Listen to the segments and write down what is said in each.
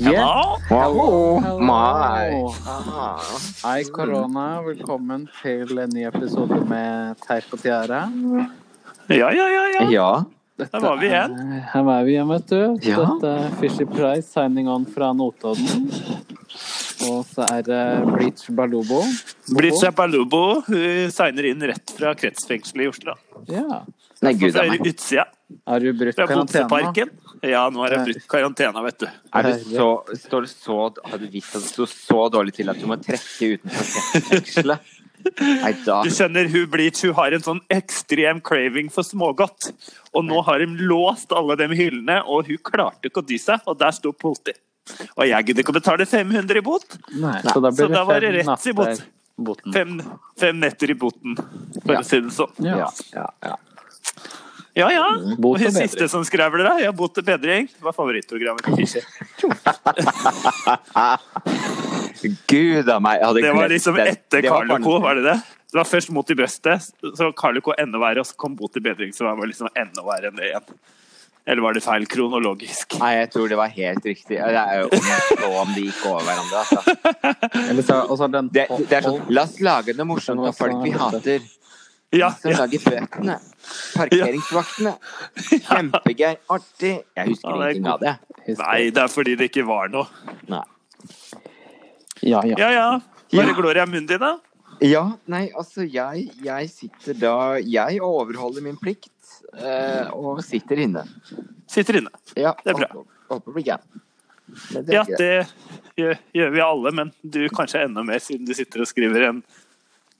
Hello? Wow. Hello. My. Ah. Hei, korona. Velkommen til en ny episode med Teip og tiara. Ja, ja, ja. ja. Ja. Der var vi igjen. Eh, Her var vi igjen, vet du. Ja. Dette er Fisher Price signing on fra Notodden. Og så er det Bleach Balobo. Britja Balubo hun signer eh, inn rett fra kretsfengselet i Oslo. Ja. Nei, gud Fra a meg. utsida. Har du brutt Fra karantena? Botseparken. Ja, nå har jeg brutt karantena, vet du. Er du så, står det så, har du visst at det står så dårlig til at du må trekke utenfor kjeftvekselet? Nei, da. Du skjønner, hun Bleach hun har en sånn ekstrem craving for smågodt. Og nå har hun låst alle de hyllene, og hun klarte ikke å dy seg. Og der sto politiet. Og jeg gidder ikke å betale 500 i bot. Nei, så da Så blir det da var det fem rett i natter. bot. Fem, fem netter i boten, for Ja. å si det sånn. Ja, Ja. ja, ja. Ja, ja. Bot og hun og bedring. siste som skravler, da? Ja, Bot og bedring. Det var favorittprogrammet til Fischer. Gud a meg. Jeg hadde Det var glemt liksom den. etter Det var Karl Co, barne- var det det? Det var først Mot i brøstet, så Karl Co enda verre, og så kom Bot i bedring, så det var liksom enda verre enn det igjen. Eller var det feil kronologisk? Nei, jeg tror det var helt riktig. Det er jo om, og om de gikk over hverandre, altså. Eller så, og så er den Det, det er sånn La oss lage noe morsomt av folk vi hater. Ja, som ja, lager bøkene. Parkeringsvaktene. Kjempegøy. Artig. Jeg Ja, husker det er ingenting av det. Nei, det er fordi det ikke var noe. Nei. Ja, ja. Ja ja. Bare Ja. Gloria Mundi, da? Ja, nei, altså jeg, jeg sitter da Jeg overholder min plikt eh, og sitter inne. Sitter inne. Ja, Det er bra. Håper, håper det blir gærent. Men det er Ja, greit. det gjør, gjør vi alle, men du kanskje enda mer, siden du sitter og skriver en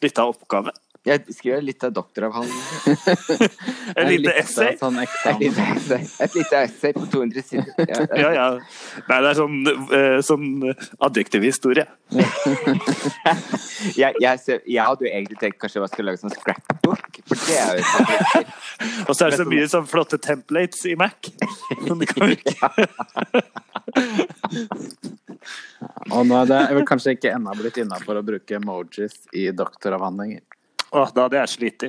lita oppgave. Jeg skriver litt av doktoravhandlingen. En Jeg lite likte essay. Sånn Et eksamen. lite essay- et lite essay på 200 sider. Ja, Ja, ja. Nei, det er sånn, eh, sånn adjektivhistorie. Jeg, jeg, ser- jeg hadde jo egentlig tenkt kanskje jeg skulle lage sånn scrapbook, for det er jo sånn Og så er det så mye sånn flotte templates i Mac. Som du kan bruke. Og nå er det jeg vil kanskje ikke ennå blitt innafor å bruke emojis i doktoravhandlinger. Åh, da hadde jeg slitt i.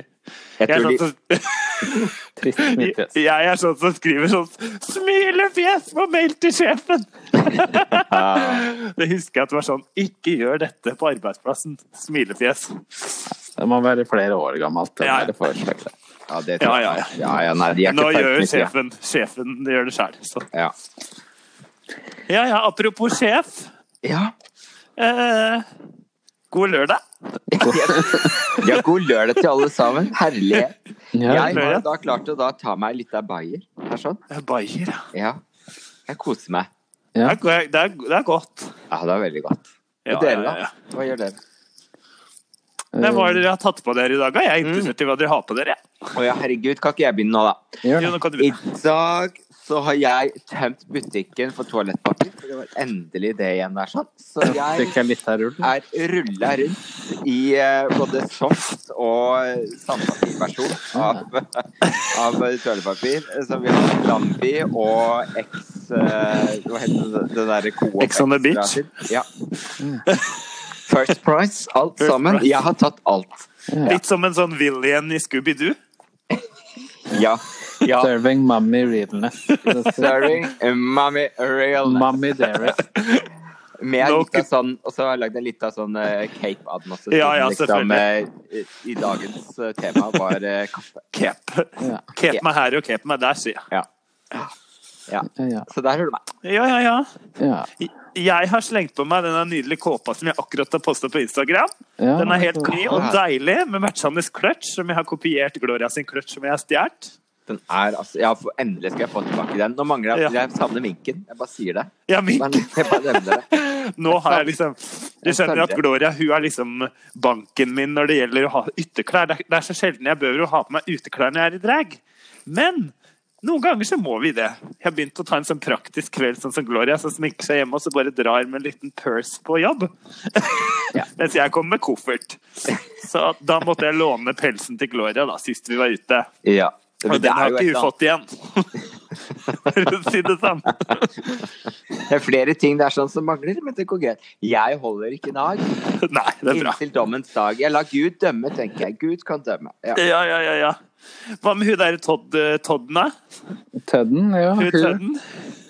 Jeg Jeg er, tror sånn de, som, Trist smittefjes. jeg er sånn som skriver sånn 'smilefjes' på mail til sjefen! Det husker jeg at det var sånn 'ikke gjør dette på arbeidsplassen'. Smilefjes. Det må være flere år gammelt. Det Ja. ja. forslaget. ja, det Ja, tror ja, jeg. ja. Ja, ja, nei, de er Nå ikke gjør parkeringsvakter. sjefen Sjefen gjør det sjæl. Så Ja. ja ja, apropos sjef. Ja. Eh, god lørdag. ja, god lørdag til alle sammen. Herlighet. Jeg Ja. har da klart å da ta meg litt av bayer. Det er sånn. Det er Bayer, ja. Ja. Jeg koser meg. Det Ja. er, go- det er, det er godt. Ja, det er veldig godt. Og Ja, dere, ja, ja. da? Hva gjør dere? Eh, Men Eh. hva er det dere har tatt på dere i dag? da? Jeg er Mm. interessert i hva dere har på dere. Å ja, herregud, kan ikke jeg begynne nå, da? Gjør Jo, det. nå kan du I begynne. dag så har jeg tømt butikken for toalettpapir. for Det var endelig det igjen der, sånn. Så jeg Trykker litt av rullen. er rulla rundt i eh, både soft og sandpapirversjon av, av toalettpapir. Så vi har Lambi og X eh, Hva heter det, det derre Coop Ex on the Extra beach? til? Ja. First Price, alt First sammen. Price. Jeg har tatt alt. Ja. Litt som en sånn William i Scooby-Doo. Ja. ja. Serving mummy realness. Sorry, mommy real. Mummy dearest. Med No litt av sånn, og så har jeg lagd en litt av sånn eh, Cape Adden også. Ja, ja, liksom, eh, I dagens eh, tema var eh, kaffe. Cape. Ja. Cape meg her og cape meg der, sier jeg. Ja. ja. Ja. Så der hører du meg. Ja, ja, ja. Ja. Jeg- Jeg har slengt på meg denne nydelige kåpa som jeg akkurat har posta på Instagram. Ja. Den er helt ny og Ja. deilig, med matchende clutch, som jeg har kopiert Gloria sin clutch, som jeg har stjålet. Den er altså ja, for, Endelig skal jeg få tilbake den. Nå mangler jeg Ja. Jeg savner minken. Jeg bare sier det. Ja, min Men jeg bare nevner det. Nå har jeg liksom Du Jeg skjønner at savner- Gloria hun er liksom banken min når det gjelder å ha ytterklær. Det er- det er så sjelden jeg behøver å ha på meg uteklær når jeg er i drag. Men noen ganger så må vi det. Jeg har begynt å ta en sånn praktisk kveld sånn som Gloria, som sminker seg hjemme og så bare drar med en liten purse på jobb. Mens jeg kommer med koffert. Så da måtte jeg låne pelsen til Gloria da, sist vi var ute. Ja. Og Men det den er har jo ikke et hun fått igjen. For å si det sånn. annet- Det er flere ting det er sånn som mangler, men det går greit. Jeg holder ikke nag Nei, det er bra. inntil dommens dag. Jeg lar Gud dømme, tenker jeg. Gud kan dømme. Ja. Ja, ja, ja. ja. Hva med hun derre eh, Todd, Todden, da? Tødden, ja. Hun Hun, Tødden?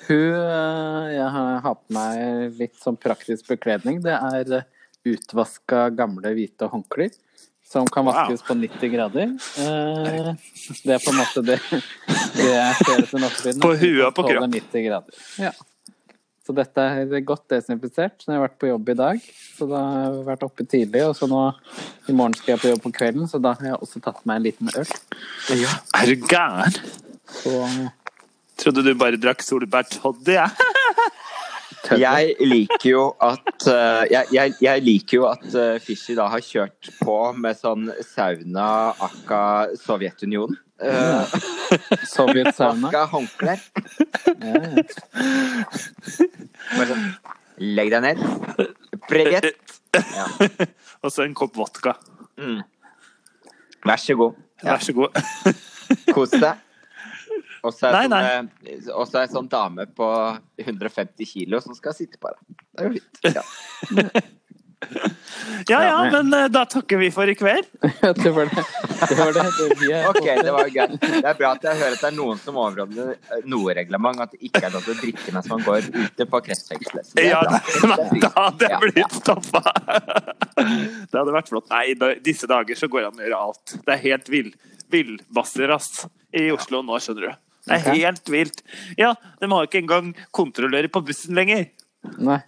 Hun eh, jeg har har på meg litt sånn praktisk bekledning. Det er eh, utvaska gamle hvite håndklær. Som kan Wow. vaskes på 90 grader. Eh, Det er på en måte det, det jeg ser etter nattbilen. På huet og på kropp. 90 grader. Ja. Så dette er godt desinfisert. Så jeg har vært på jobb i dag. Så da har jeg vært oppe tidlig. Og så nå i morgen skal jeg på jobb på kvelden, så da har jeg også tatt meg en liten øl. Er du gæren? Så Trodde du bare drakk solbærtoddy, jeg. Ja. Jeg liker jo at eh, jeg, jeg, jeg liker jo at eh, Fishy da har kjørt på med sånn sauna akka Sovjetunionen. Uh, Mm, Sovjetsauna. akka håndklær. Ja, ja. Bare sånn Legg deg ned. Privet. Ja. Og så en kopp vodka. Mm. Vær så god. Vær så god. Kos deg. Og så er Nei, det sånn, eh, og så er det sånn dame på 150 kilo som skal sitte på deg. Det er jo fint. Ja. Ja ja, men eh, da takker vi for i kveld. det var det. Det var det. det vi er Ok, det var greit. Det er bra at jeg hører at det er noen som overholder eh, noe reglement, at det ikke er lov til å drikke mens man går ute på kretsfengselet. Så det er Ja, bra. nei, da hadde Ja. jeg blitt stoppa! Det hadde vært flott. Nei, da, disse dager så går det an å gjøre alt. Det er helt vill, villbasser, ass. I Oslo nå, skjønner du. Det er Ok. helt vilt. Ja, de har ikke engang kontrollører på bussen lenger. Nei.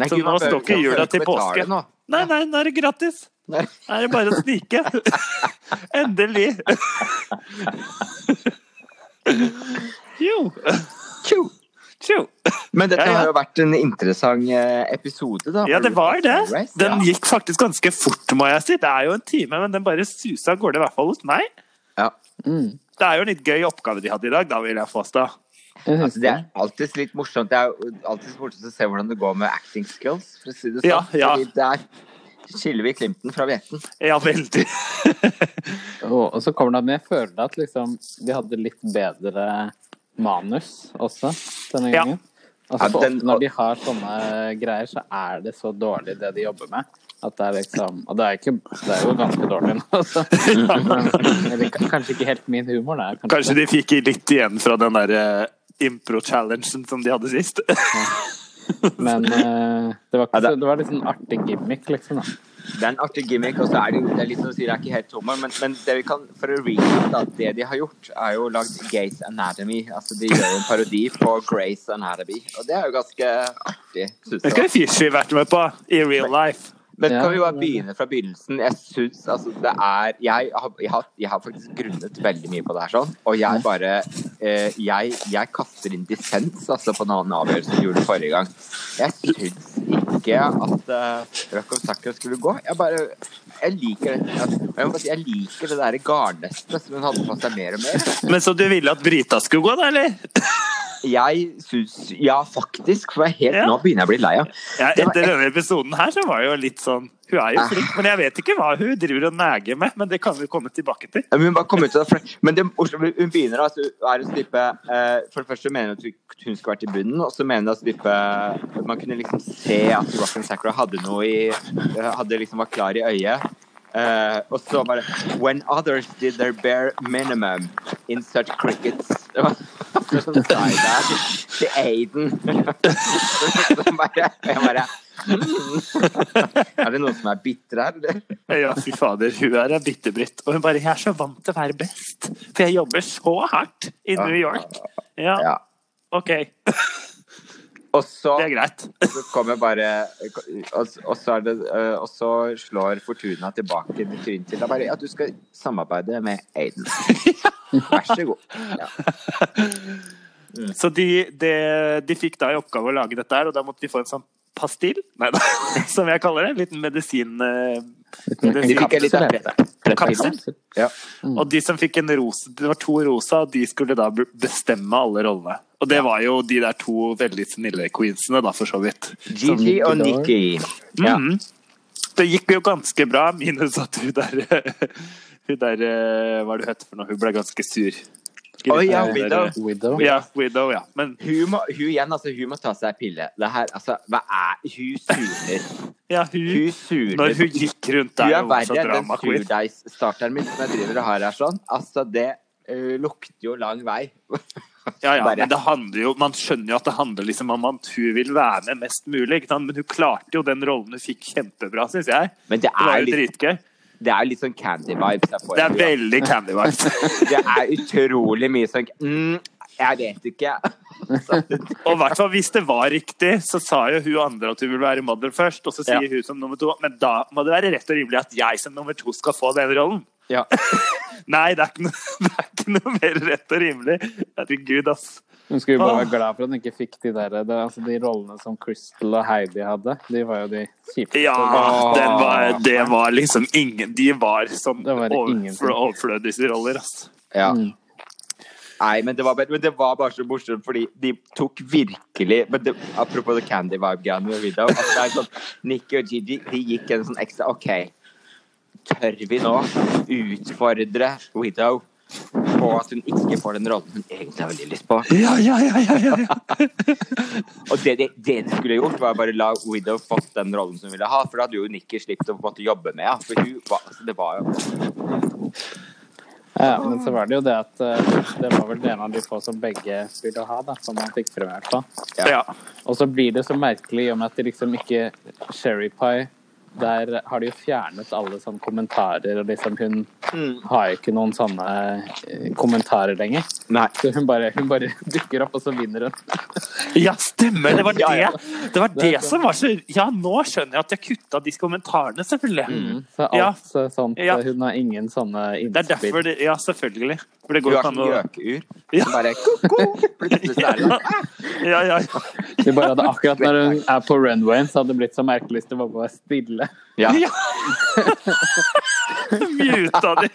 Nei, Så Gud, man nå står behøver ikke jula til betale påske. nå. Nei, nei, nå er det gratis. Nei. Nå er det bare å snike. Endelig. Jo. Tjo. Tjo. Men dette Ja, ja. har jo vært en interessant eh, episode, da. Ja, det var det. Den ja. gikk faktisk ganske fort, må jeg si. Det er jo en time, men den bare susa av gårde, i hvert fall hos meg. Ja. Mm. Det er jo en litt gøy oppgave de hadde i dag, da vil jeg påstå. Jeg synes Altså, det er alltid litt morsomt. Det er jo alltid morsomt å se hvordan det går med acting skills, for å si det sånn. Ja, ja. Fordi Der skiller vi Clinton fra Vieten. Ja, veldig. Og, og så kommer det at jeg føler at liksom, de hadde litt bedre manus også denne Ja. gangen. Ja, Altså, for den- ofte når de har sånne greier, så er det så dårlig det de jobber med. At det er liksom Og det er, ikke, det er jo ganske dårlig nå, altså. Eller k- kanskje ikke helt min humor, det er kanskje, Kanskje de fikk litt igjen fra den derre impro-challengen som de hadde sist. Men eh, det, var Ja, ikke, det- så- det var litt sånn artig gimmick, liksom. Da. Det er en artig gimmick, og så er det, jo- det er litt som du sier, det er ikke helt humor, men, men det vi kan, for å recap, da, det de har gjort, er jo lagd Gays Anatomy. Altså, de gjør jo en parodi på Grace Anatomy, og det er jo ganske artig, synes Det skulle jeg. Fishy vært med på i real life. Men Ja. kan vi bare begynne fra begynnelsen? Jeg synes, altså, det er jeg har, jeg, har, jeg har faktisk grunnet veldig mye på det her, sånn, og jeg bare eh, jeg, jeg kaster inn dissens, altså, på en annen avgjørelse du gjorde forrige gang. Jeg syns ikke at uh, Rocco Sakra skulle gå. Jeg bare Jeg liker det jeg, jeg, må bare si, jeg liker det der garnnøstet som hun hadde på seg mer og mer. Men så du ville at Brita skulle gå, da, eller? Jeg syns Ja, faktisk. For jeg er helt, Ja. nå begynner jeg å bli lei av Ja, Det var Ah. etter denne episoden her så var jeg jo litt sånn Hun er jo flink, men jeg vet ikke hva hun driver og neger med. Men det kan vi komme tilbake til. Ja, men Hun bare kom ut av det. for- Men det, hun begynner altså, er å slippe eh, For det første mener hun at hun- hun skulle vært i bunnen, og så mener hun at slippe, man kunne liksom se at Rock and Sacra hadde noe i Hadde liksom var klar i øyet. Eh, og så bare When others did their bare minimum in such crickets Som sa jeg der til Aiden. Så bare, jeg bare mm. Er det noen som er bitre her, eller? Ja, fy fader, hun er ei bitterbritt. Og hun bare 'Jeg er så vant til å være best', for jeg jobber så hardt i New York. Ja, Ja. OK. Og så Det er greit. Og så kommer bare og, og, så er det, øh, og så slår Fortuna tilbake til trynet til deg bare at du skal samarbeide med Aiden. Vær så god. Ja. Så de, de, de fikk da i oppgave å lage dette her, og da måtte de få en sånn pastill, nei da, som jeg kaller det. En liten medisin... eh, De fikk en liten medisinkapsel. prett- Kapsel. prettpille. Ja. Og de som fikk en rosa, det var to rosa, og de skulle da bestemme alle rollene. Og det var jo de der to veldig snille queensene, da, for så vidt. Gigi og Nikki. Ja. Mm. Det gikk jo ganske bra, minus at hun der Hun der eh, Hva er det hun heter for noe? Hun ble ganske sur. Å, ja, Hun der- eh, Widow. Widow. Ja, Widow, ja. Men Hun, må, hun igjen, altså. Hun må ta seg en pille. Det her, altså, hva er Hun surer. ja, hun, Hun surer. når hun gikk rundt Hun der er og var så verre enn den drama queen surdeigstarteren min som jeg driver og har her sånn. Altså, det øh, lukter jo eh, lang vei. Ja, ja, Bare- men det handler jo, Man skjønner jo at det handler liksom om at hun vil være med mest mulig. Ikke sant? Men hun klarte jo den rollen hun fikk kjempebra, syns jeg. Men det Det er var jo litt, dritgøy. det er litt sånn candy vibes jeg får. Det er veldig Candy Vibes. Det er utrolig mye sånn mm, Jeg vet ikke. Og i hvert fall hvis det var riktig, så sa jo hun andre at hun ville være model først. Og så sier Ja. hun som nummer to Men da må det være rett og rimelig at jeg som nummer to skal få den rollen. Ja. Nei, det er ikke noe, det er ikke noe mer rett og rimelig. Herregud, ass. Hun skulle jo bare Åh. være glad for at hun ikke fikk de der, det, altså de rollene som Crystal og Heidi hadde. De var jo de kjipeste. Ja, Åh. den var, det var liksom ingen De var sånn Det var det ingenting. overflø- overflødigsroller, ass. Ja. Mm. Nei, men det, var bare, men det var bare så morsomt, fordi de tok virkelig men det, Apropos det candy vibe-greiene med Widow. At det er sånn, Nikki og Gigi de gikk en sånn ekstra OK, tør vi nå utfordre Widow på at hun ikke får den rollen hun egentlig har veldig lyst på? Ja, ja, ja, ja, ja, ja. Og det de, det de skulle gjort, var bare la Widow fått den rollen som hun ville ha. For da hadde jo Nikki slippet å på en måte jobbe med henne. For hun var, altså, det var jo Ja, men så var det jo det at eh, det var vel det en av de få som begge ville ha, da, som man fikk fremhævd på. Ja. ja. Og så blir det så merkelig i og med at de liksom ikke Sherry Pie der har de jo fjernet alle sånne kommentarer, og liksom hun Mm. har jo ikke noen sånne eh, kommentarer lenger. Nei. Så hun bare, hun bare dukker opp, og så vinner hun. Ja, stemmer. Det var Ja, ja. det. Det var Det er det som var så Ja, nå skjønner jeg at jeg kutta de kommentarene, selvfølgelig. Så alt Ja. så sånt Ja. eh, Hun har ingen sånne Det er derfor innspill. det Ja, selvfølgelig. For det Hun går jo har ikke an sånn å gjøkur. Ja. Som bare ko-ko! Plutselig så ja, er det sånn. ja, ja. De bare hadde akkurat når hun er på runwayen, så hadde det blitt så merkelig hvis det var bare stille. Ja. ja. Muta de.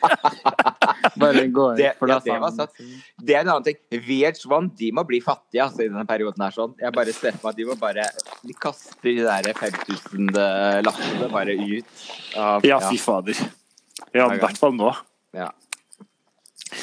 Bare gå ut, Det, for da ja, det sa var hun- sant. Det er en annen ting. VH1, de må bli fattige altså, i denne perioden her. sånn. Jeg bare ser for meg at de må bare De kaster de der 5000-lappene bare ut. Av, Ja, fy fader. Ja, i hvert fall nå. ja.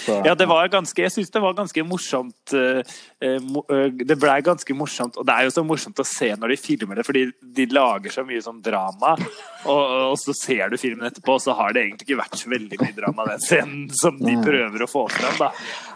så- Ja, det var ganske, jeg syns det var ganske morsomt. eh, eh, mo- eh, Det blei ganske morsomt. Og det er jo så morsomt å se når de filmer det, fordi de lager så mye sånn drama. Og, og så ser du filmen etterpå, og så har det egentlig ikke vært så veldig mye drama den scenen som de prøver å få frem, da.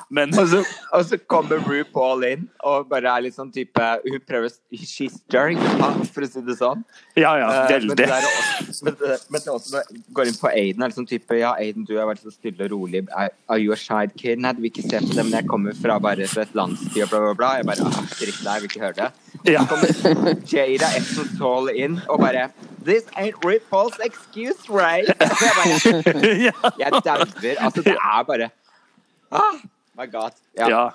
Men Og så, og så kommer RuPaul inn og bare er litt sånn type Hun prøver She's stirring, for å si det sånn. ja, ja, Eh, Men det veldig. er også- men det- men det er også når jeg går inn på Aiden, er det sånn type Ja, Aiden, du har vært så stille og rolig. Er- Are you a side kid? Nei, du vil ikke se på det, men jeg kommer fra bare fra et landsby og bla, bla, bla. Jeg bare ah, Dritt deg, jeg vil ikke høre det. Ja. Så kommer Jada Esson Tall inn og bare This ain't RuPaul's excuse, right? Og Jeg bare ja. Jeg dauer. Altså, det er bare ah, My God. Ja. ja.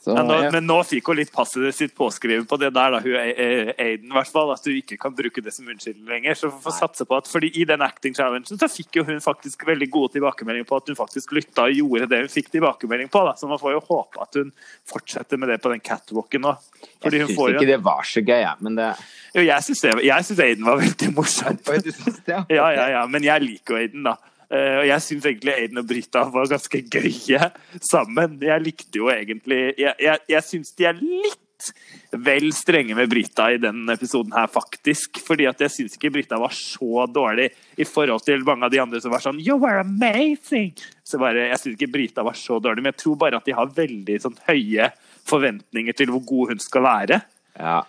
så, Ja, nå, ja. men nå fikk hun litt passet sitt påskrevet på det der, da, hun eh, Aiden, i hvert fall. At hun ikke kan bruke det som unnskyldning lenger. Så vi får satse på at fordi i den acting challengen så fikk jo hun faktisk veldig gode tilbakemeldinger på at hun faktisk lytta og gjorde det hun fikk tilbakemelding på. Da. Så man får jo håpe at hun fortsetter med det på den catwalken nå. Fordi Jeg hun syns får jo ikke det var så gøy, jeg, men det Jo, jeg syns det- jeg syns Aiden var veldig morsom. Oi, du syns det? Ja, ja, ja. Men jeg liker jo Aiden, da. Eh, Og jeg syns egentlig Aiden og Brita var ganske gøye sammen. Jeg likte jo egentlig Jeg, jeg, jeg syns de er litt vel strenge med Brita i denne episoden her, faktisk. Fordi at jeg syns ikke Brita var så dårlig i forhold til mange av de andre som var sånn You are amazing! Så bare, Jeg syns ikke Brita var så dårlig, men jeg tror bare at de har veldig sånn høye forventninger til hvor god hun skal være. Ja.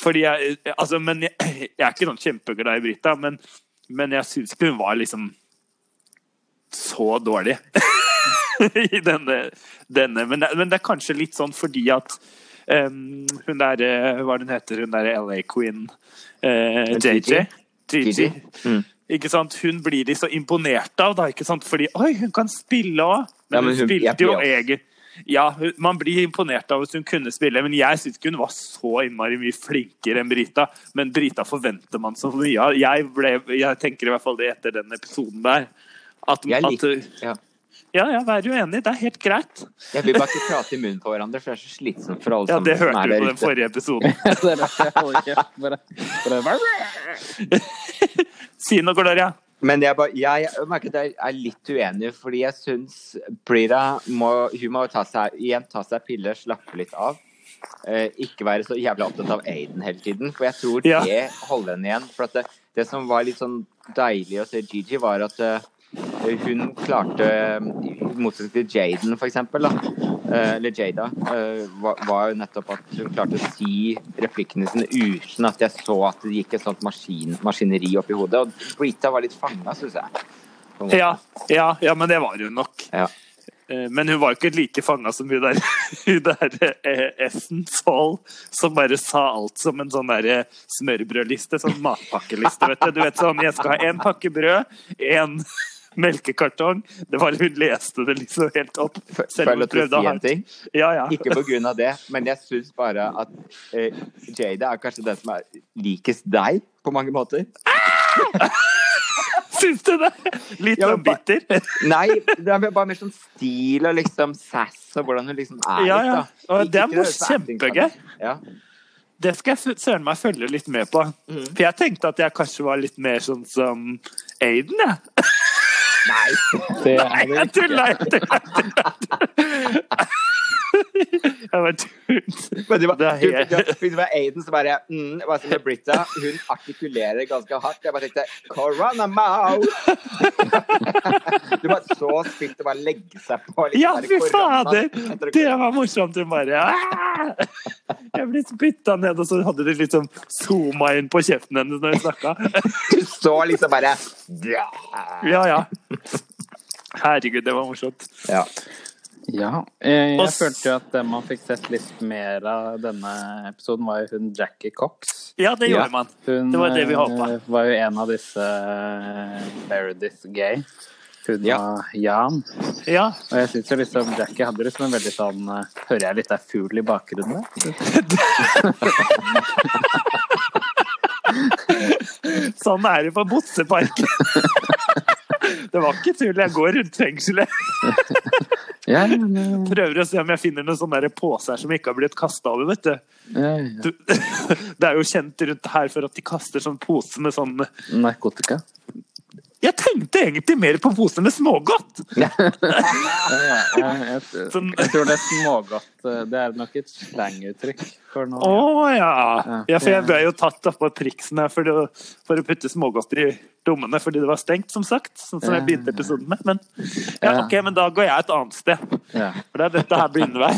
Fordi jeg, altså, men jeg, jeg er ikke sånn kjempeglad i Brita, men, men jeg syns ikke hun var liksom så dårlig i denne. denne. Men, det- men det er kanskje litt sånn fordi at em, hun der eh, Hva er det hun heter? Hun der LA Queen eh, JJ? Gigi. Gigi. Mm. Ikke sant? Hun blir de så imponert av, da, ikke sant? Fordi Oi, hun kan spille òg! Men, Ja, men hun, hun- jeg spilte blir jo også- egen Ja, hun- man blir imponert av hvis hun kunne spille, men jeg syns ikke hun var så innmari mye flinkere enn Brita. Men Brita forventer man så mye av. Jeg, ble- jeg tenker i hvert fall det etter den episoden der. At, Jeg liker at ja. Ja, ja, vær uenig. Det er helt greit. Jeg vil bare ikke prate i munnen på hverandre, for det er så slitsomt for alle Ja, det som hørte Sånn- er du på der den ute. forrige episoden. Det er derfor jeg holder kjeft. Bare, bare, Si noe, Gloria. Men jeg, bare, jeg, jeg merker at jeg er litt uenig, fordi jeg syns Brita må, hun må ta seg, igjen ta seg piller, slappe litt av. Eh, ikke være så jævla opptatt av Aiden hele tiden, for jeg tror det Ja. holder henne igjen. For at det, det som var litt sånn deilig å se Gigi, var at eh, hun klarte, eh, i motsetning til Jaden for eksempel, da, eh, eller Jada, eh, var, var jo nettopp at hun klarte å si replikkene sine uten at jeg så at det gikk et sånt maskin, maskineri opp i hodet. Og Brita var litt fanga, syns jeg. på en måte. Ja, ja, ja, men det var hun nok. Ja. Eh, Men hun var ikke like fanga som hun der, hun der eh, Essen Fall, som bare sa alt som en sånn der eh, smørbrødliste, sånn matpakkeliste, vet du. Du vet sånn, jeg skal ha én pakke brød, én melkekartong. Det var Hun leste det liksom helt opp. Får jeg Selv om lov hun til å prøvde å si ha en ting? Ja, ja. Ikke på grunn av det, men jeg syns bare at eh, Jada er kanskje den som er likest deg på mange måter. Syns du det? Litt Ja, sånn men ba- bitter? Nei, det er bare mer sånn stil og liksom sass og hvordan hun liksom er. Ja, ja. litt, da. Og det er Ikke høres på kjempegøy. acting, kanskje. Ja. Det skal jeg sø- søren meg følge litt med på. Mm. For jeg tenkte at jeg kanskje var litt mer sånn som Aiden, jeg. Nei. Det Nei, er det jeg ikke. tuller! Jeg tuller, jeg tuller. Jeg bare tuller. Men det var, Det er du- helt- du- du- det var Aiden som bare mm, var som med Britta. Hun artikulerer ganske hardt. Jeg bare tenkte Corona mouth! Du bare så spytt og bare legge seg på. liksom Ja, bare fy korona fader! etter- Det var morsomt. Hun bare «Ah!» Jeg ble spytta ned, og så hadde de liksom zooma inn på kjeften hennes når hun snakka. Du så liksom bare Ja, ja. Herregud, det var morsomt. Ja. Ja. eh, Og Jeg s- følte jo at det man fikk sett litt mer av denne episoden, var jo hun Jackie Cox. Ja, det Ja. gjorde man. Hun Det var det vi eh, håpet. var jo en av disse eh, Meredith Gay. Hun Ja. og Jan. Ja, Og jeg syns liksom Jackie hadde liksom en veldig sånn eh, Hører jeg litt av fugl i bakgrunnen? Sånn er det på Botseparken. Det var ikke tull. Jeg går rundt fengselet Ja, men, eh, prøver å se om jeg finner noen sånne der poser som ikke har blitt kasta over. vet du. ja, ja. Du- Det er jo kjent rundt her for at de kaster sånn pose med sånn Narkotika. Jeg tenkte egentlig mer på pose med smågodt! Ja, ja, ja, jeg, Sånn- jeg tror det er smågodt eh, Det er nok et slanguttrykk for Å noe. ja. ja! For jeg ble jo tatt oppå priksen her for å, for å putte smågodter i dommene fordi det var stengt, som sagt. Sånn som jeg begynte episoden med. Men ja, ok, men da går jeg et annet sted. Ja. For det er dette her blindvei.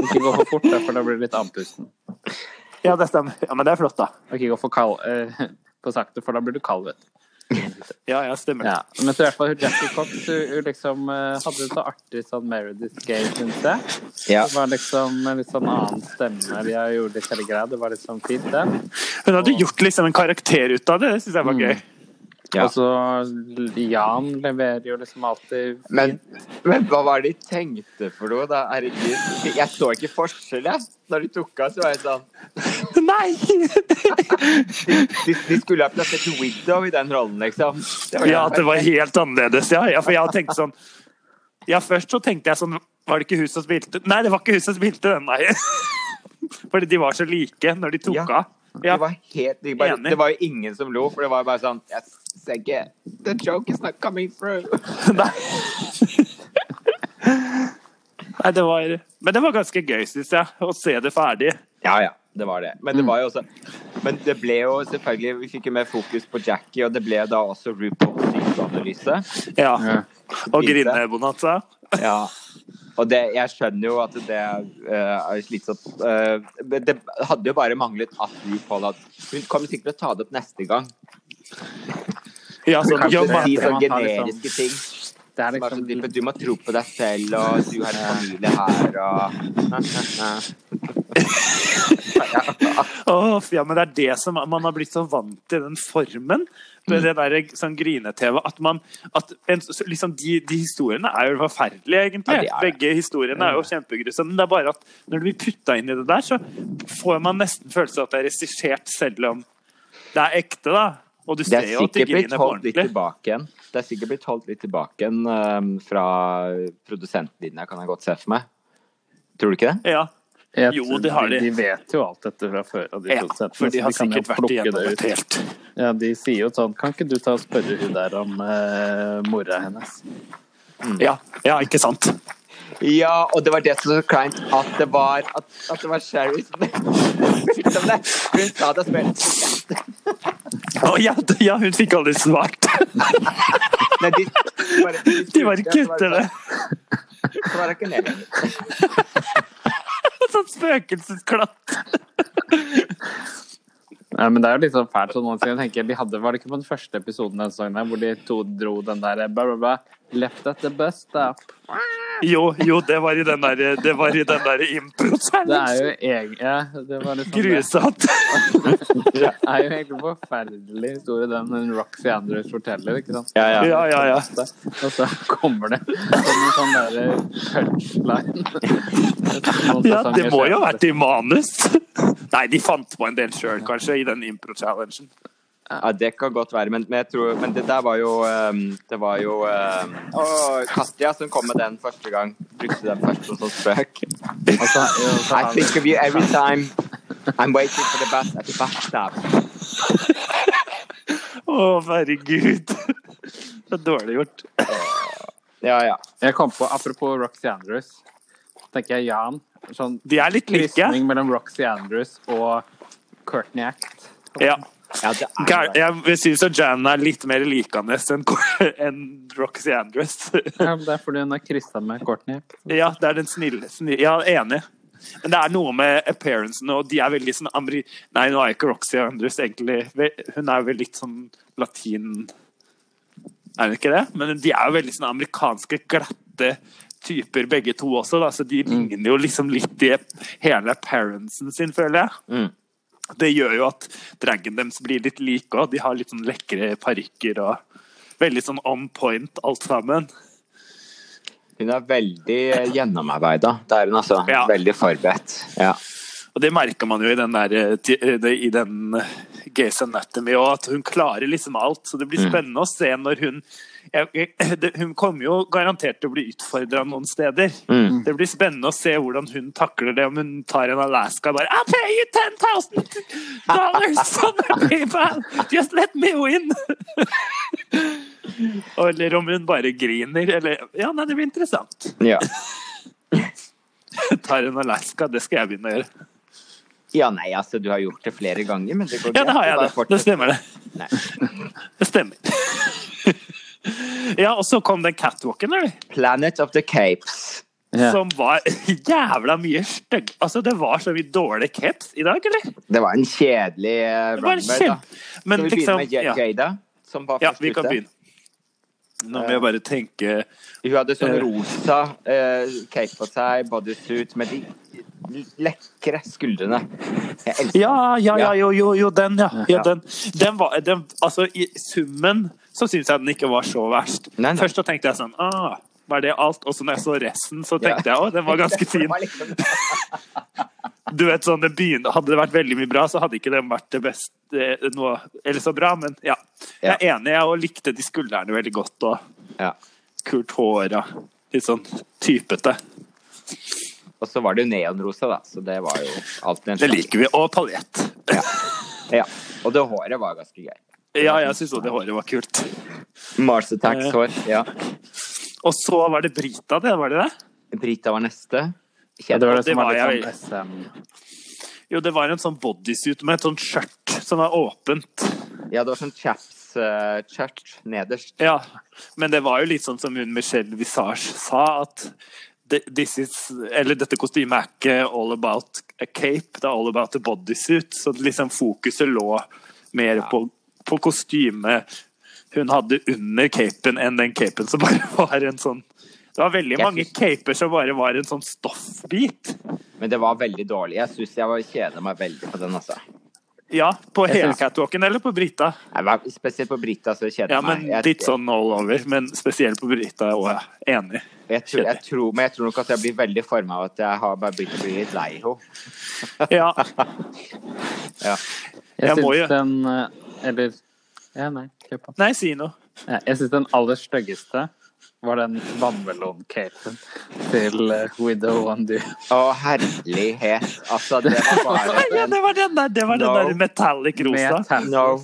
Ikke gå for fort, da, for da blir du litt andpusten. Ja, det stemmer. Ja, men det er flott, da. Og ikke gå for kald eh, på sakte, for da blir du kald, vet du. Ja, ja, stemmer. Ja. Men så i hvert fall hun Jackie Cox hun, hun liksom eh, hadde det så artig sånn Meredith Gay, syns jeg. ja. Det var liksom en litt sånn annen stemme. De har gjort litt hele greia. Det var litt sånn fint, det. Hun hadde gjort liksom en karakter ut av det. Det syns jeg var gøy. Ja. Og så Jan leverer jo liksom alltid fint. Men, men hva var det de tenkte for noe, da? Herregud. Jeg så ikke forskjell, jeg. Når de tok av, så var jeg sånn Nei! De, de skulle ha plassert Widow i den rollen, liksom. Det var- Ja, at det var helt annerledes. Ja, ja for jeg tenkte sånn Ja, først så tenkte jeg sånn Var det ikke hun som spilte Nei, det var ikke hun som spilte den, nei. Fordi de var så like når de tok Ja. av. Ja. Det var helt, de bare, Enig. det var jo ingen som lo, for det var bare sånn Jeg ser ikke The joke is not coming through. Nei. Nei, det var Men det var ganske gøy, syns jeg, å se det ferdig. Ja, ja. Det var det. Men det Mm. var jo også Men det ble jo selvfølgelig Vi fikk jo mer fokus på Jackie, og det ble jo da også RuPaul's sykeanalyse. Ja. Ja. Og grinebonanza. Ja. Og det, jeg skjønner jo at det eh, er slitsomt. Eh, men det hadde jo bare manglet at hun Paul at Hun kommer sikkert til å ta det opp neste gang. Ja, Hun sånn kan ja, ikke men- si sånne man har liksom- generiske ting. Det er Som er liksom sånn type, du må tro på deg selv, og du har en familie her, og Åh, ja, men det er det som man har blitt så vant til den formen. Mm. Det, det der sånn grine-TV. At man at en, så- liksom de, de historiene er jo forferdelige, egentlig. Ja, de er det. Begge historiene er jo kjempegrusomme. Men det er bare at når du blir putta inn i det der, så får man nesten følelse av at det er regissert, selv om det er ekte, da. Og du Det ser er jo at de sikkert blitt griner på holdt litt ordentlig. tilbake igjen. Det er sikkert blitt holdt litt tilbake igjen ehm, fra produsentlinja, kan jeg godt se for meg. Tror du ikke det? Ja. Jeg- Jo, det har de. De vet jo alt dette fra før. av de ja, produsentene, for de så har kan jo sikkert vært plukke igjennom det et ut. helt Ja, de sier jo sånn Kan ikke du ta og spørre hun der om eh, mora hennes? Mm. ja, ja, ikke sant? Ja, og det var det som var så kleint, at det var at, at det var Sherry som spurte om det. Hun sa det og spurte. Å ja, d- ja, hun fikk aldri svart. Nei, de, bare, de, De bare kutter det. Svarer ikke ned. Sånn spøkelsesklatt. Nei, men det er jo litt sånn fælt sånn noen ganger. Jeg tenker, de hadde, Var det ikke på den første episoden denne sesongen der, hvor de to dro den der eh, bla, bla, bla, Left at the bus, da. Jo, jo, det var i den derre Det var i den derre Det er impro-challenge. jo egen... Ja, det var liksom det. Grusomt. Det er jo egentlig en forferdelig historie den den Roxy Andrews forteller, ikke sant? Ja, ja, ja. Og så kommer det som en sånn derre punchline. Ja, det må jo ha vært i manus. Nei, de fant på en del sjøl, kanskje, i den impro-challengen. Ja, det kan godt være, men, men, jeg tror, men det der var jo ehm, Det var jo ehm, Å, Katja som kom med den første gang. Brukte den først som sånn spøk. Og så- ja, og så I har han- think of you every time. I'm waiting for the bus at the bus stop. Å, herregud. Så dårlig gjort. Ja, ja. Jeg kom på, apropos Roxy Andrews, tenker jeg Jan. Sånn De er litt like. krysning mellom Roxy Andrews og Courtney Act. Ja. ja det er Gær- Jeg syns Jan er litt mer likende enn enn Roxy Andrews. Ja, men det er fordi hun har kryssa med Courtney Act. Ja, det er den snille, snille Ja, enig. Men det er noe med appearancen, og de er veldig sånn ameri... Nei, nå er ikke Roxy Andrews egentlig ve- Hun er vel litt sånn latin... Er hun ikke det? Men de er jo veldig sånn amerikanske, glatte typer begge to også, da. Så de ligner jo liksom litt i hele appearancen sin, føler jeg. Mm. Det gjør jo at dragen deres blir litt like òg. De har litt sånn lekre parykker og Veldig sånn on point alt sammen. Hun er veldig eh, gjennomarbeida. Det er hun, altså. Ja. Veldig forberedt. Ja. Og det merker man jo i den, der, eh, ti- eh, det- i den eh, Gays Anatomy òg, at hun klarer liksom alt. Så det blir spennende å se når hun jeg, jeg, det, Hun kommer jo garantert til å bli utfordra noen steder. Mm. Det blir spennende å se hvordan hun takler det, om hun tar en Alaska og bare I'll pay you 10,000 dollars on the PayPal! Just let me win! eller om hun bare griner, eller Ja, nei, det blir interessant. Ja. Tar en Alaska, det skal jeg begynne å gjøre. ja, nei, altså, du har gjort det flere ganger, men det går Ja, det har Du jeg. bare Det, det fortsetter. stemmer, det. Nei. Det stemmer. Ja, og så kom den catwalken, eller? Planet of the Capes. Ja. Som var jævla mye stygg. Altså, det var så mye dårlig caps i dag, eller? Det var en kjedelig eh, Det var runway, da. kjempe... Men Skal vi liksom begynne med ja, Ja- Jada? Som var ja, først vi kan ute? begynne. Nå må jeg bare tenke Hun hadde sånn Eh. rosa eh, cape på seg, bodysuit, med de lekre skuldrene. Jeg elsker Ja, ja, ja, Ja. jo, jo, jo den, ja. ja Ja. den. den var den, Altså, i summen så syns jeg den ikke var så verst. Nei, nei. Først så tenkte jeg sånn ah, Var det alt? Og så når jeg så resten, så tenkte jeg òg den var ganske Det fin. var liksom- du vet sånn, det begynner, Hadde det vært veldig mye bra, så hadde ikke den vært det beste eh, nå, eller så bra, men ja. Jeg er enig, jeg og likte de skuldrene veldig godt, og Ja. kult hår og litt sånn typete. Og så var det jo neonrosa, da, så det var jo alltid en Det liker vi. Og paljett. Ja. Og det håret var ganske gøy. Ja, jeg syns òg det håret var kult. Mars Eh. Attacks hår. Ja. Og så var det Brita, det, var det det? Brita var neste. Ja, det var det Det som var var litt sånn jeg- SM. Jo, det var en sånn bodysuit med et sånt skjørt som var åpent. Ja, det var sånn chaps eh, church nederst. Ja, men det var jo litt sånn som hun Michelle Visage sa, at det- this is, eller dette kostymet er ikke all about a cape, det er all about a bodysuit. Så liksom fokuset lå mer på, på kostymet hun hadde under capen, enn den capen som bare var en sånn Det var veldig Jeg mange synes- caper som bare var en sånn stoffbit. Men det var veldig dårlig. Jeg syns jeg var kjeda meg veldig på den, altså. Ja, på hele synes- catwalken eller på Brita. Jeg var, spesielt på Brita så kjeda Ja, meg. men Jeg- litt sånn all over. Men spesielt på Brita òg, ja. Enig. Jeg tror, jeg tror, men jeg tror nok at jeg blir veldig forma av at jeg har bare begynt å bli litt lei henne. Ja. Ja. Jeg Jeg må jo- syns den eh, Eller Ja, nei, kjør på. Nei, si noe. Ja, Jeg syns den aller styggeste var den vannmeloncapen til eh, Widow and Du. Å, herlighet. Altså, det var Nei, bare ja, det var den der, det var den No. der metallic rosa. Med tan- No.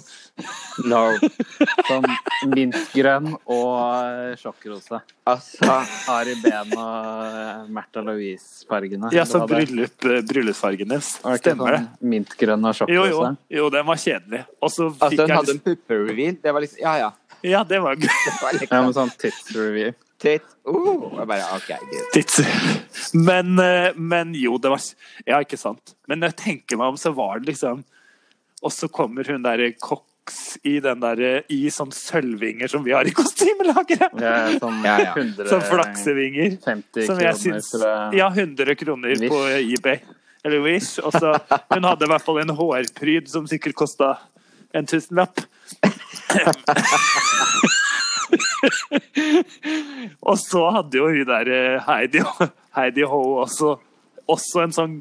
No. Som mintgrønn og eh, sjokkrose. Altså Ari Behn og eh, Märtha Louise-fargene. Ja, så Det var det. bryllup, eh, bryllupsfargen deres. Var det ikke Stemmer det. sånn Mintgrønn og Jo, jo, sjokkrose. jo, den var kjedelig. Og så fikk Altså, hun jeg hadde en liksom puppe-reveal. Det var liksom Ja, ja. Ja, det var gøy. Det Ja, men var liksom sånn tidsreview. Titt. Uh, jeg bare OK, greit. Tids. Men, eh, men jo, det var Ja, ikke sant. Men når jeg tenker meg om, så var det liksom Og så kommer hun derre Cox i den derre I sånn sølvvinger som vi har i kostymelageret! Det er sånn Ja, ja. 100 Sånn flaksevinger. 50 Som kroner jeg eh, syns fra Ja, 100 kroner på eBay. Eller Wish. Og så Hun hadde i hvert fall en hårpryd som sikkert kosta en tusenlapp. og så hadde jo hun der eh, Heidi, Heidi Ho også, også en sånn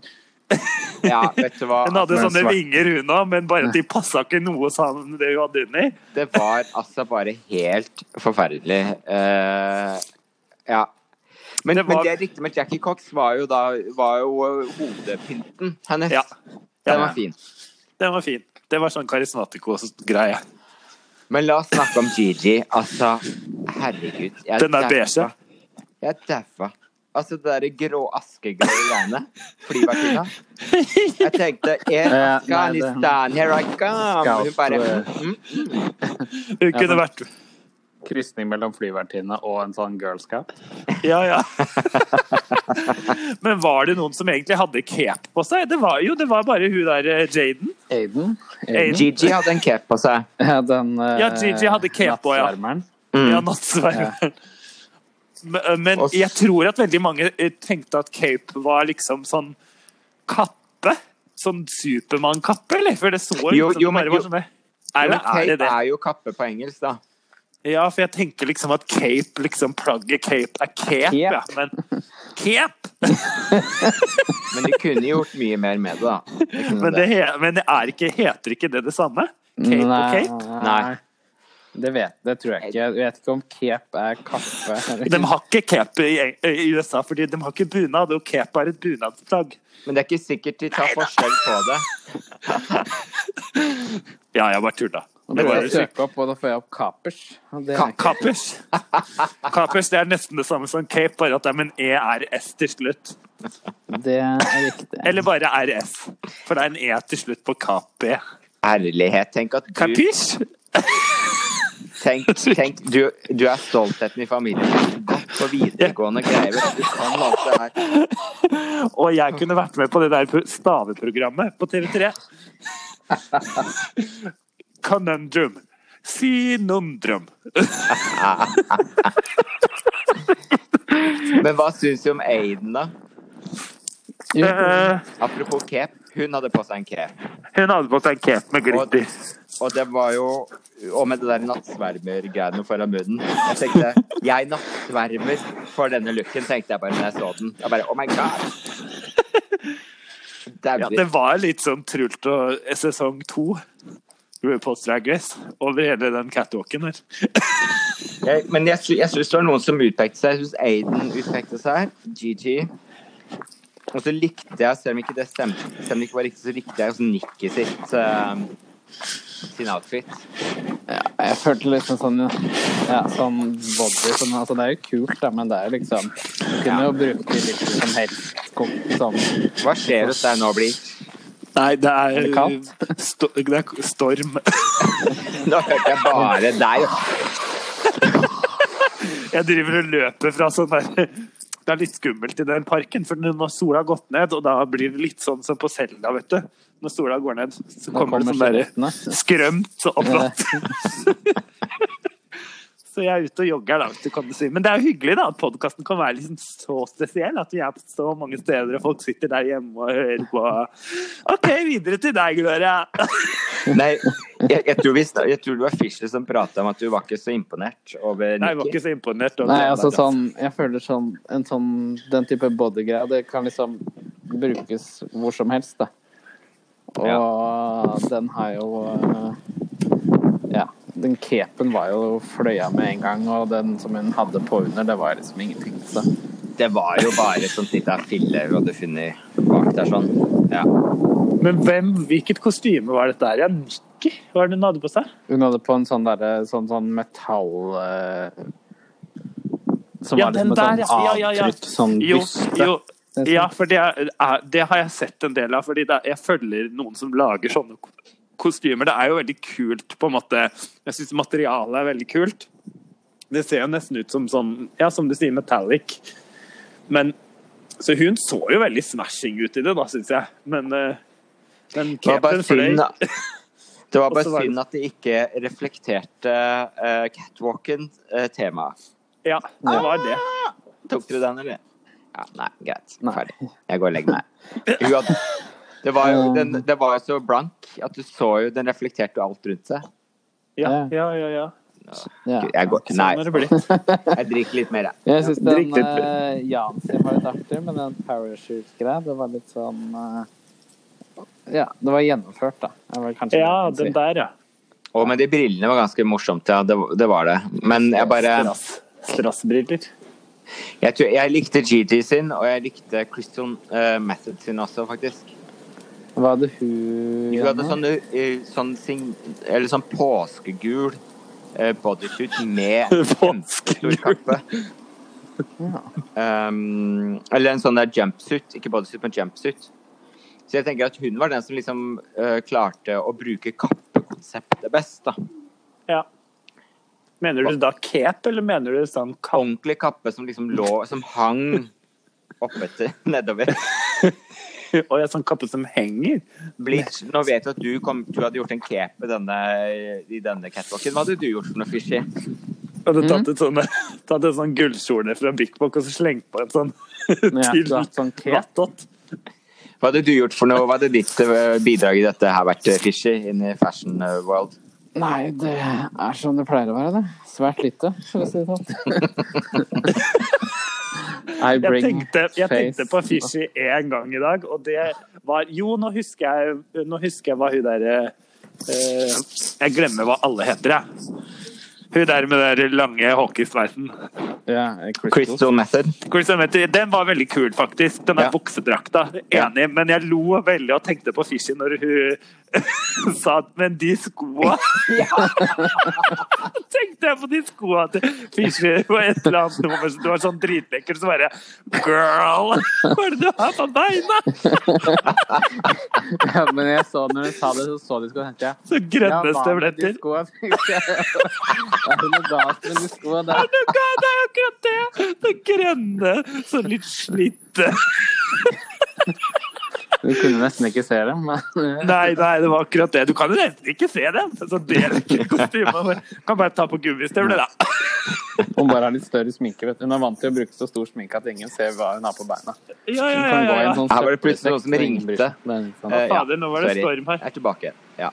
Ja, vet du hva? Hun hadde Men sånne svart. vinger, hun òg, men bare at de passa ikke noe sammen med det hun hadde under. Det var altså bare helt forferdelig. Eh, ja. Men Det det, var- men det er riktig med Jackie Cox var jo da var jo hodepynten hennes. Ja. Ja. Den var fin. Den var fin. Det var sånn karismatiko-greie. Men la oss snakke om Gigi. Altså, herregud. Jeg Den der daua. beige. Jeg daua. Altså det derre grå askegrå greiene. Flyvertinna. Jeg tenkte "Eh, "Yeah, Ja, nei, det- Afghanistan, here I come! Hun bare mm, Hun kunne vært krysning mellom flyvertinne og en sånn girlscout. Ja, ja. Men var det noen som egentlig hadde cape på seg? Det var jo det var bare hun der eh, Jaden. Aiden. Aiden. Gigi hadde en cape på seg. Ja, den eh, Ja, Gigi hadde cape også, ja. nattsvermeren. Ja, nattsvermeren. Men, eh, men Mm. Og s- jeg tror at veldig mange eh, tenkte at cape var liksom sånn kappe. Sånn Supermann-kappe, eller? For det så ut Jo, som det jo, men bare var jo- sånn der. Nei, men cape er det det? er jo kappe på engelsk, da. Ja, for jeg tenker liksom at cape, liksom plagget cape er cape, ja. Men cape! Men de kunne gjort mye mer med det, da. De kunne Men det, he- men det er ikke, heter ikke det det samme? Cape og cape? Nei. eh, Det, vet, det tror jeg ikke. Jeg vet ikke om cape er kaffe. De har ikke cape i, i USA, fordi de har ikke bunad, og cape er et bunadsplagg. Men det er ikke sikkert de tar forskjell på det. Ja, jeg bare tulla. Det Det må var jeg jo søke opp, og da får jeg opp kapers. Og det er sykt. Kapers. Kapers det er nesten det samme som cape, bare at det er med en ERS til slutt. ikke- Det er riktig. Eller bare RS, for det er en E til slutt på kape. Ærlighet. Tenk at du Kapish? Tenk, tenk du, du er stoltheten i familien. Gått på videregående greier. vet Du Du kan alt det her. Og jeg kunne vært med på det der pro- staveprogrammet på TV3. Conundrum. Sinundrum. Men hva syns du om Aiden, da? Eh, Apropos cape. Hun hadde på seg en cape. hun hadde på seg en cape med Og, glitter. og det var jo Og med det der nattsvermer-greiene foran munnen. Jeg tenkte Jeg nattsvermer for denne looken, tenkte jeg bare når jeg så den. Jeg bare Oh my god! Ja, Dauer. det var litt sånn trult og sesong to. RuPaul's Drag Race over hele den catwalken her. Jeg, men jeg, sy- jeg syns det var noen som utpekte seg. Jeg syns Aiden utpekte seg. Gigi. Og så likte jeg, selv om ikke det stemte, selv om det ikke var riktig, så likte jeg også Nikki sitt eh, sin outfit. Jeg følte liksom sånn ja, sånn body sånn, altså Det er jo kult, da, men det er jo liksom Du kunne jo bruke litt som helst. Kom, sånn. Hva skjer hos deg nå, Bli? Nei, det Er er, det kaldt? sto, det er storm. Nå hørte jeg bare deg. Jeg driver og løper fra sånn der Det er litt skummelt i den parken, for når sola har gått ned, og da blir det litt sånn som på Selda, vet du. Når sola går ned, så Nå kommer, kommer det sånn derre skjelettene. skrømt og oppblåst. Så jeg er ute og jogger, da, hvis du kan si. Men det er jo hyggelig da, at podkasten kan være liksom så spesiell. At vi er på så mange steder, og folk sitter der hjemme og hører på. OK, videre til deg, Gloria. Nei, jeg, jeg, tror vi, snak- jeg tror det var Fischer som prata om at du var ikke så imponert over Nei, jeg var Nikki. ikke så imponert. over Nei, den, altså da. sånn Jeg føler sånn, en sånn Den type bodygreie, det kan liksom brukes hvor som helst, da. Og den har jo øh, Ja. Den capen var jo fløya med en gang, og den som hun hadde på under, det var liksom ingenting. Så. Det var jo bare et sånt lite fille hun hadde funnet bak der sånn. Ja. Men hvem, hvilket kostyme var dette her? Ja, Nikki, hva er det hun hadde på seg? Hun hadde på en sånn derre sånn, sånn metall... eh, som Ja, var liksom den et sånn der, ja. Ja, ja, ja. avtrykk, sånn Jo, byste. jo. Det er sånn. Ja, for det, er, er- det har jeg sett en del av. fordi det, er- Jeg følger noen som lager sånne ko- kostymer. Det er jo veldig kult, på en måte. Jeg syns materialet er veldig kult. Det ser jo nesten ut som sånn Ja, som du sier, metallic. Men Så hun så jo veldig smashing ut i det, da, syns jeg. Men eh, den Det var capen bare fløy. synd det var Og så bare var det- synd at det ikke reflekterte eh, catwalken-temaet. Ja, det var det. Tok dere den, eller? Ja, nei, greit. Nei. Ferdig. Jeg går og legger meg. Hun hadde, det, var jo, den, Um. det var jo så blank at du så jo Den reflekterte jo alt rundt seg. Ja, ja, ja. ja. Ja. Jeg går, nei, Sånn har det blitt. jeg drikker litt mer, jeg. Jeg syns den Riktig. uh, Jan sin var litt artig, men den parachute-greia, det var litt sånn eh, Ja, det var gjennomført, da. Det var kanskje Ja, det den jeg kan si. der, ja. Å, men de brillene var ganske morsomt, ja. Det, det var det. Men jeg bare Strass- Strassbriller. Jeg, tror, jeg likte Gigi sin, og jeg likte Crystal eh, Method sin også, faktisk. Hva hadde hun Hun hadde Janne? sånn, eh, sånn, sin, eller sånn påskegul eh, bodysuit med en kjempestor kappe. Ja. Um, eller en sånn der jumpsuit. Ikke bodysuit, men jumpsuit. Så jeg tenker at hun var den som liksom eh, klarte å bruke kappekonseptet best, da. Ja. Mener du da cape, eller mener du sånn kappe? Ordentlig kappe som liksom lå Som hang oppetter nedover. Og jeg sånn kappe som henger? Bleach, nå vet jeg at du, kom, du hadde gjort en cape i denne, i denne catwalken. Hva hadde du gjort for noe fishy? Jeg hadde Mhm. tatt, et sånne, tatt en sånn gullkjole fra Bik Bok og så slengt på en sånn Ja, til du hadde sånn cape. vattott. Hva hadde du gjort for noe? Hva hadde ditt eh, bidrag i dette her vært eh, fishy inn i fashion eh, world? Nei, det er som det pleier å være, det. Svært lite, for å si det sånn. I Jeg bring tenkte, jeg face. tenkte på Fishy én gang i dag, og det var Jo, nå husker jeg, nå husker jeg hva hun derre eh, Jeg glemmer hva alle heter, jeg. Hun der med den der lange hockeysveisen. Ja, Crystal. Crystal Method. Chris Hemmetter, Den var veldig kul, faktisk. Den der Ja. buksedrakta. Enig. Men jeg lo veldig og tenkte på Fishy når hun sa at Men de skoa Tenkte jeg på de skoa til Fishy på et eller annet nummer. så Du var sånn dritlekker, så bare Girl! Hva er det du har på beina? Ja, men jeg så, når du sa det, så så de skulle hente jeg. Så grønne støvletter. Ja, hva med de skoene? Det er noe galt med de skoene Er der. det noe galt? Det er akkurat det! Det grønne, sånn litt slitte Du kunne nesten ikke se dem. Men... eh, Nei, nei, det var akkurat det. Du kan jo nesten ikke se den. Så det er ikke kostyme. Du kan bare ta på gummistøvler, da. Hun bare har litt større sminke. Vet du. Hun er vant til å bruke så stor sminke at ingen ser hva hun har på beina. Hun Ja, ja, ja. kan gå i ja, en ja. sånn Her var det plutselig noen som søppelsekk, ingen bryr seg. ringte. Det er litt sånn Eh, fader, nå var det sorry. storm her. Jeg er tilbake. Ja.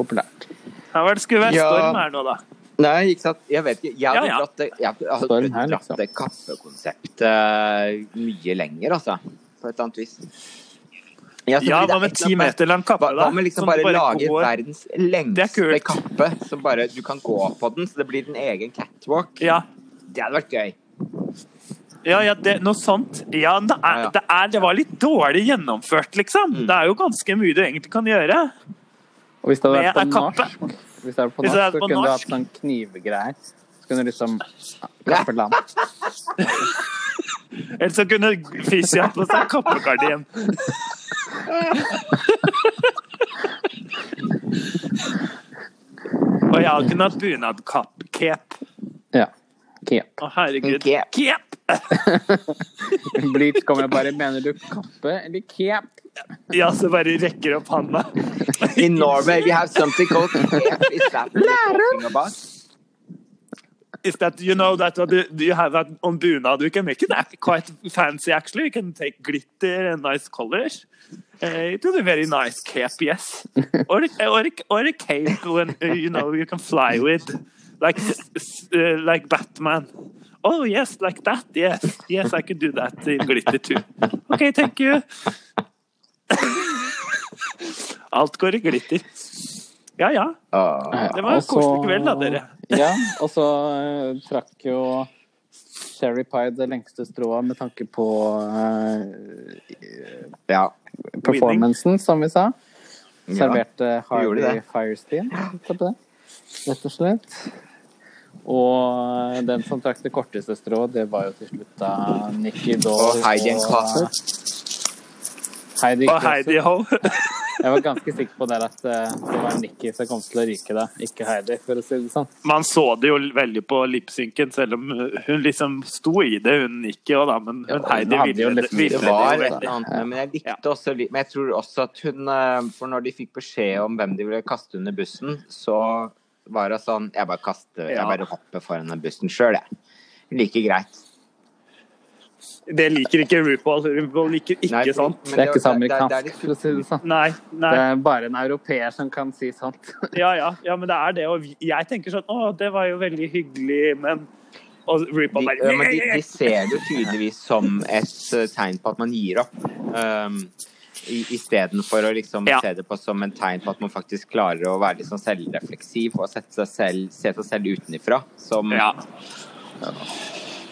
populært. Her var det skulle være Ja. storm her nå, da. Nei, ikke sant. Jeg vet ikke. Jeg hadde Ja, ja. dratt det, jeg hadde- jeg hadde Storm her, dratt liksom. det kappekonseptet mye lenger, altså. På et eller annet vis. så Ja, fordi det hva er med et ti eller annet meter lang kappe, Hva, da? hva med liksom Som du bare, lage går- verdens Det er lengste kult. kappe, som bare du kan gå på den, så det blir din egen catwalk? Ja. Det hadde vært gøy. Ja, ja, det, noe sånt. Ja, det, Ja, er, ja. Mm. det, er, det var litt dårlig gjennomført, liksom. Det er jo ganske mye du egentlig kan gjøre. Og hvis det hadde Men jeg vært på er kappe. norsk, hvis det hadde vært på Hvis det norsk, hadde vært så på kunne du norsk. hatt sånn knivgreier. Så kunne du liksom kappe land. Ellers så kunne Fishy hatt på seg kappegardin. Og jeg kunne hatt bunadkapp-cape. Ja. Kep. Å, herregud. Cape. Cape! Bleach kommer og bare Mener du kappe eller kep? Ja, så bare rekker opp handa. In Norway, we have something called cape. Is that what you're talking about? Is that you know that what you- you have that on bunad? We can make it act- quite fancy, actually. We can take glitter and nice colors. Uh, it will be very nice cape, yes. Or a, or a, or a cape when uh, you know you can fly with, like s- s- uh, like Batman. Oh yes, like that. Yes, yes, I can do that in glitter too. Okay, thank you. Alt går i glitter. Ja, ja. Åh. Ah, Det var en Og så- koselig kveld da, dere. Ja, og så eh, trakk jo Sherry pie det lengste strået med tanke på eh, Ja. performancen, som vi sa. Serverte Harvey gjorde det. Firestein, se på det. rett og slett. Og den som trakk det korteste strået, det var jo til slutt da Nikki Dahl Og Heidi and Klasse. Heidi Og Heidi Klosser. Ho. Jeg var ganske sikker på der at eh, det var Nikki som kom til å ryke da, ikke Heidi, for å si det sånn. Man så det jo veldig på lipsynken, selv om hun liksom sto i det, hun ikke, og da, men Ja, hun hun Heidi hadde jo ville det. liksom- ville Det det var jo et veldig. eller annet med, men jeg likte også litt Men jeg tror også at hun eh, For når de fikk beskjed om hvem de ville kaste under bussen, så var det sånn Jeg bare kaster Jeg Ja. bare hopper foran den bussen sjøl, jeg. Like greit. sånn. Det liker ikke RuPaul. RuPaul liker ikke Nei, for- sånt. men Det er ikke så det- det- det er amerikansk, litt- for å si det sånn. Nei, nei. Det er bare en europeer som kan si sånt. Ja, ja, ja, men det er det. Og vi- jeg tenker sånn Å, det var jo veldig hyggelig, men Og RuPaul de, bare ja, men de, de ser det jo tydeligvis som et eh, tegn på at man gir opp. Um, Istedenfor å liksom Ja. se det på som en tegn på at man faktisk klarer å være litt sånn selvrefleksiv og sette seg selv, se seg selv utenifra. Som, Ja.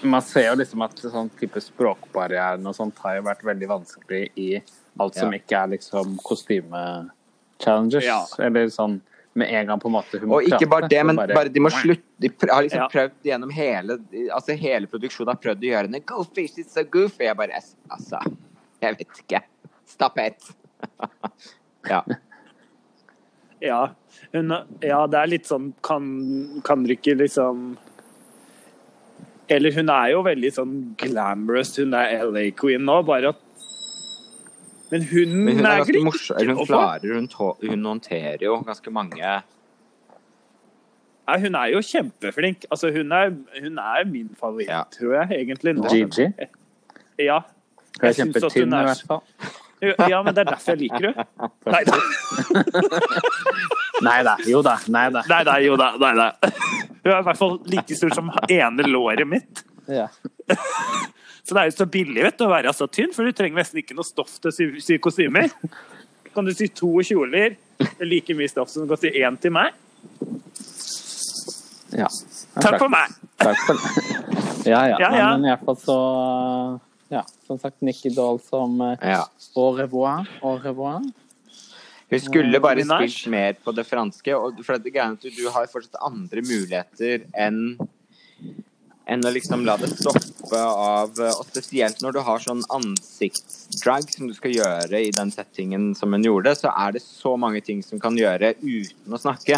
Man ser jo liksom at sånn type språkbarrieren og sånt har jo vært veldig vanskelig i alt som Ja. ikke er liksom kostyme-challenges. Ja. Eller sånn med en gang på en måte hun må Og ikke prate, bare det, så men bare de må slutte De pr- har liksom Ja. prøvd gjennom hele Altså hele produksjonen har prøvd å gjøre henne Go fish, it's so goofy. Jeg bare Altså, jeg vet ikke. Stapp ett. ja. Ja, hun, ja det er litt sånn Kan, kan du ikke liksom Eller hun er jo veldig sånn glamorous, hun er LA Queen nå, bare at Men hun, Men hun er ganske ikke morsom. eller noe Hun for- klarer, hun, tå- hun håndterer jo ganske mange Nei, hun er jo kjempeflink. Altså, hun er, hun er min favoritt, Ja. tror jeg, egentlig. Nå. Gigi. Ja. Hun er synes at hun kjempetynn i er- hvert fall. ja, men det er derfor jeg liker henne. Nei da. Nei da. Jo da. Nei da. Nei, nei, jo da. Nei, nei. Hun er i hvert fall like stor som ene låret mitt. Ja. Så det er jo så billig vet du, å være så tynn, for du trenger nesten ikke noe stoff til å sy, sy kostymer. Kan du sy to kjoler? Det er like mye stoff som du kan sy én til meg. ja. Takk for meg! Takk for Ja, ja. Ja, ja. Men i hvert fall så Ja, som sagt, Nikki Dahl som eh, Ja. Au revoir. Au revoir. Hun skulle bare Minaj? spilt mer på det franske. Og for det greia er at du har fortsatt andre muligheter enn enn å liksom la det stoppe av Og spesielt når du har sånn ansiktsdrag som du skal gjøre i den settingen som hun gjorde, så er det så mange ting som kan gjøre uten å snakke.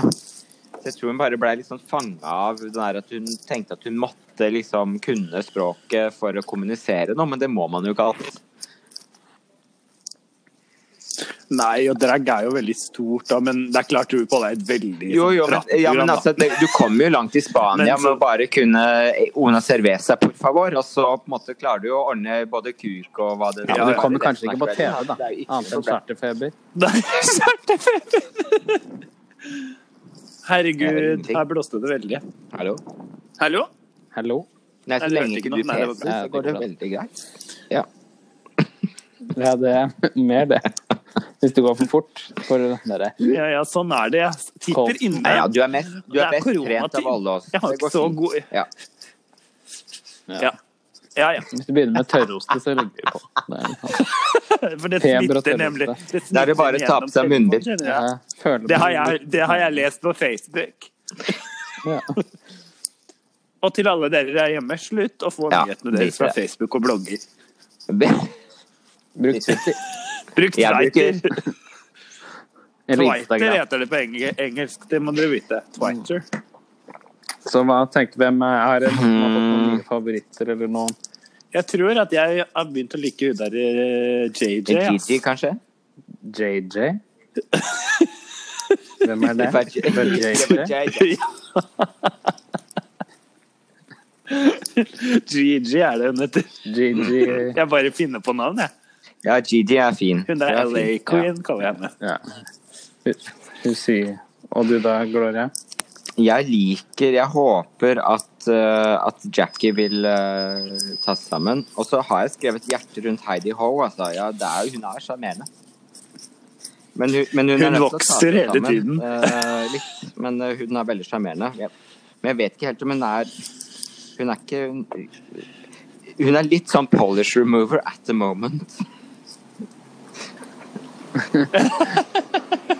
Så jeg tror hun bare ble litt sånn fanga av det der at hun tenkte at hun måtte liksom kunne språket for å kommunisere noe, men det må man jo ikke alltid. Nei, og drag er jo veldig stort, da, men det er klart du på det er et veldig sånn Jo, jo, men, ja, men altså, det, du kommer jo langt i Spania Men så- med å bare kunne eh, una cerveza, por favor, og så på en måte klarer du jo å ordne både kuk og hva det Ja, Ja, men ja, det kommer det er kanskje som er ikke på TV, kvelden. da. Det er jo ikke Annet enn noe problem. charterfeber. altså- Herregud, ingenting. her blåste det veldig. Hallo? Hallo? Hallo. Nei, Nei, det så hørte lenge ikke ikke noe. du Nei, det var peser, bra. så går det veldig greit. Ja. Ja, det er mer det. Hvis det går for fort. For dere. Ja, ja, sånn er det. Jeg Cold. sitter inne. Nei, ja, du er mest, du Det er er best trent koronatid. av alle oss. Jeg har Det går ikke så fint. god Ja. Ja. Ja, ja. Hvis du begynner med tørroste, så legger vi på. Det er, litt sånn. For det Feber og smitter nemlig. tørreste. Det Da er det bare smitter å ta på seg gjennom munnbind. jeg telefonen, kjenner jeg. føler Det har jeg, det har jeg lest på Facebook. Ja. Og til alle dere der hjemme, slutt å få Ja, nyhetene deres drit i fra det. Facebook og blogger. Bruk Twitter. Bruk Jeg Twitter. Eller Twiter Instagram. heter det på eng- engelsk, det må dere vite. Twiter. Så hva tenker hvem er har dere noen som har fått noen nye favoritter eller noen Jeg tror at jeg har begynt å like hun der eh, JJ. ass. Gigi, kanskje? JJ? Hvem er det? Det var J- Det var det var JJ? J- Gigi er det hun heter. JJ. Jeg bare finner på navn, jeg. Ja, Gigi er fin. Hun der Hun er LA fin. Queen kaller jeg henne. Ja. Hun sier Og du da, Gloria? Jeg liker Jeg håper at, eh, at Jackie vil eh, ta seg sammen. Og så har jeg skrevet hjerte rundt Heidi Ho. Altså. Ja, det er, jo- hun er sjarmerende. Men hun, men hun, er Hun nødt til å ta vokser seg hele sammen, tiden. eh, litt, men eh, hun er veldig sjarmerende. Ja. Men jeg vet ikke helt om hun er Hun er ikke hun, hun er litt sånn polish remover at the moment.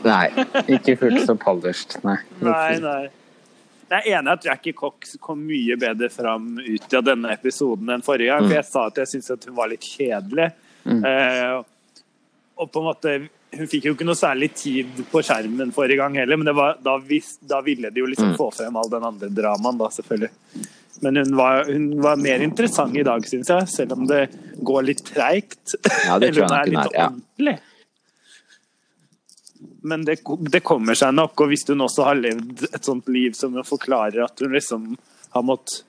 Nei. Ikke fullt så polished, nei. Nei, nei. Jeg er enig i at Jackie Cox kom mye bedre fram ut av denne episoden enn forrige gang. For jeg sa at jeg syntes at hun var litt kjedelig. Eh, og på en måte eh, Hun fikk jo ikke noe særlig tid på skjermen forrige gang heller, men det var, da, vis, da ville de jo Mm. liksom få frem all den andre dramaen, da, selvfølgelig. Men hun var, hun var mer interessant i dag, syns jeg, selv om det går litt treigt. Ja, det tror jeg Eller hun nok er hun litt er, ja. ordentlig. Men det, det kommer seg nok, og hvis hun også har levd et sånt liv som hun forklarer at hun liksom har måttet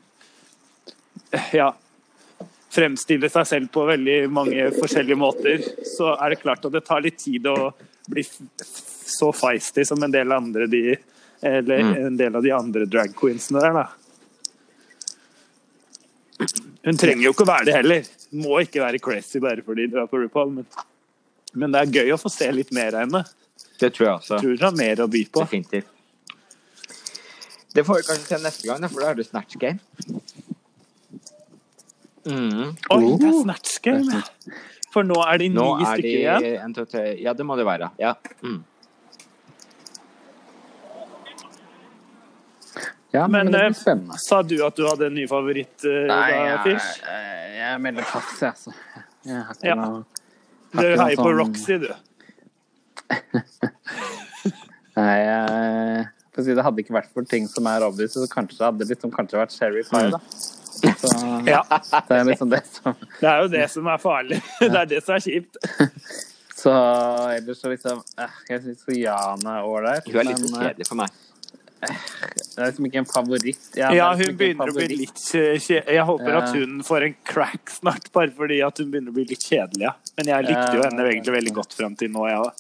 ja, fremstille seg selv på veldig mange forskjellige måter, så er det klart at det tar litt tid å bli f- f- så feisty som en del andre de eller Mm. en del av de andre drag queensene der, da. Hun trenger jo ikke å være det heller. Må ikke være crazy bare fordi du er på RuPaul, men, men det er gøy å få se litt mer av henne. Det tror jeg også. Tror hun har mer å by på. Definitivt. Det får vi kanskje se neste gang, da, for da er det Snatch Game. Mm. Oi, det er snatch game! For nå er de ni Nå er stykker de igjen. en, to, tre. Ja, det må det være. Ja. Mm. Ja, men, Men det eh, blir spennende. sa du at du hadde en ny favoritt, eh, da, jeg, Fish? jeg- jeg melder pass, jeg, altså. Jeg har ikke Ja. noe Du ikke noe heier på sånn- Roxy, du. Nei, jeg, for å si det hadde ikke vært for ting som er obvious, så kanskje det hadde liksom, kanskje vært Sherry Pie, da. Så Mm. Ja, det er liksom det som det er jo det som er farlig. Det er det som er kjipt. Så ellers så liksom eh, Jeg syns Jana er ålreit, Hun er men litt for eh, kjedelig for meg. det er liksom ikke en favoritt. Ja, Ja, det er hun liksom ikke en begynner å bli favoritt. litt eh, kje- Jeg håper Ja. at hun får en crack snart, bare fordi at hun begynner å bli litt kjedelig. Ja. Men jeg likte jo Ja. henne egentlig veldig godt fram til nå, jeg ja. òg.